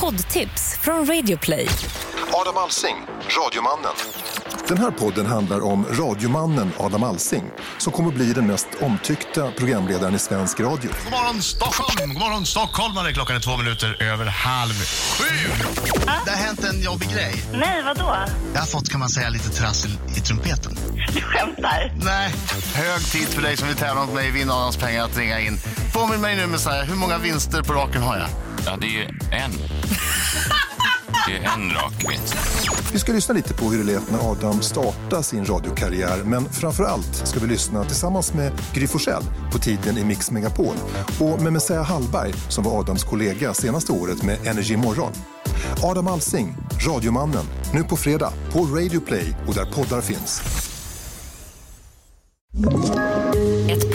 Poddtips från Radioplay. Adam Alsing, radiomannen. Den här podden handlar om radiomannen Adam Alsing som kommer bli den mest omtyckta programledaren i svensk radio. God morgon Stockholm! God morgon stockholmare! Klockan är två minuter över halv sju. Det har hänt en jobbig grej. Nej, vadå? Jag har fått kan man säga lite trassel i trumpeten. Du skämtar? Nej. Hög tid för dig som vill tävla mot mig i Vinn Adams pengar att ringa in. Påminn mig nu med så här, hur många vinster på raken har jag? Ja, det är ju en. Det är en rak vinst. Vi ska lyssna lite på hur det lät när Adam startade sin radiokarriär men framför allt ska vi lyssna tillsammans med Gry Forssell på tiden i Mix Megapol och med Messiah Hallberg som var Adams kollega senaste året med Energy Morgon. Adam Alsing, Radiomannen, nu på fredag på Radio Play och där poddar finns. Ett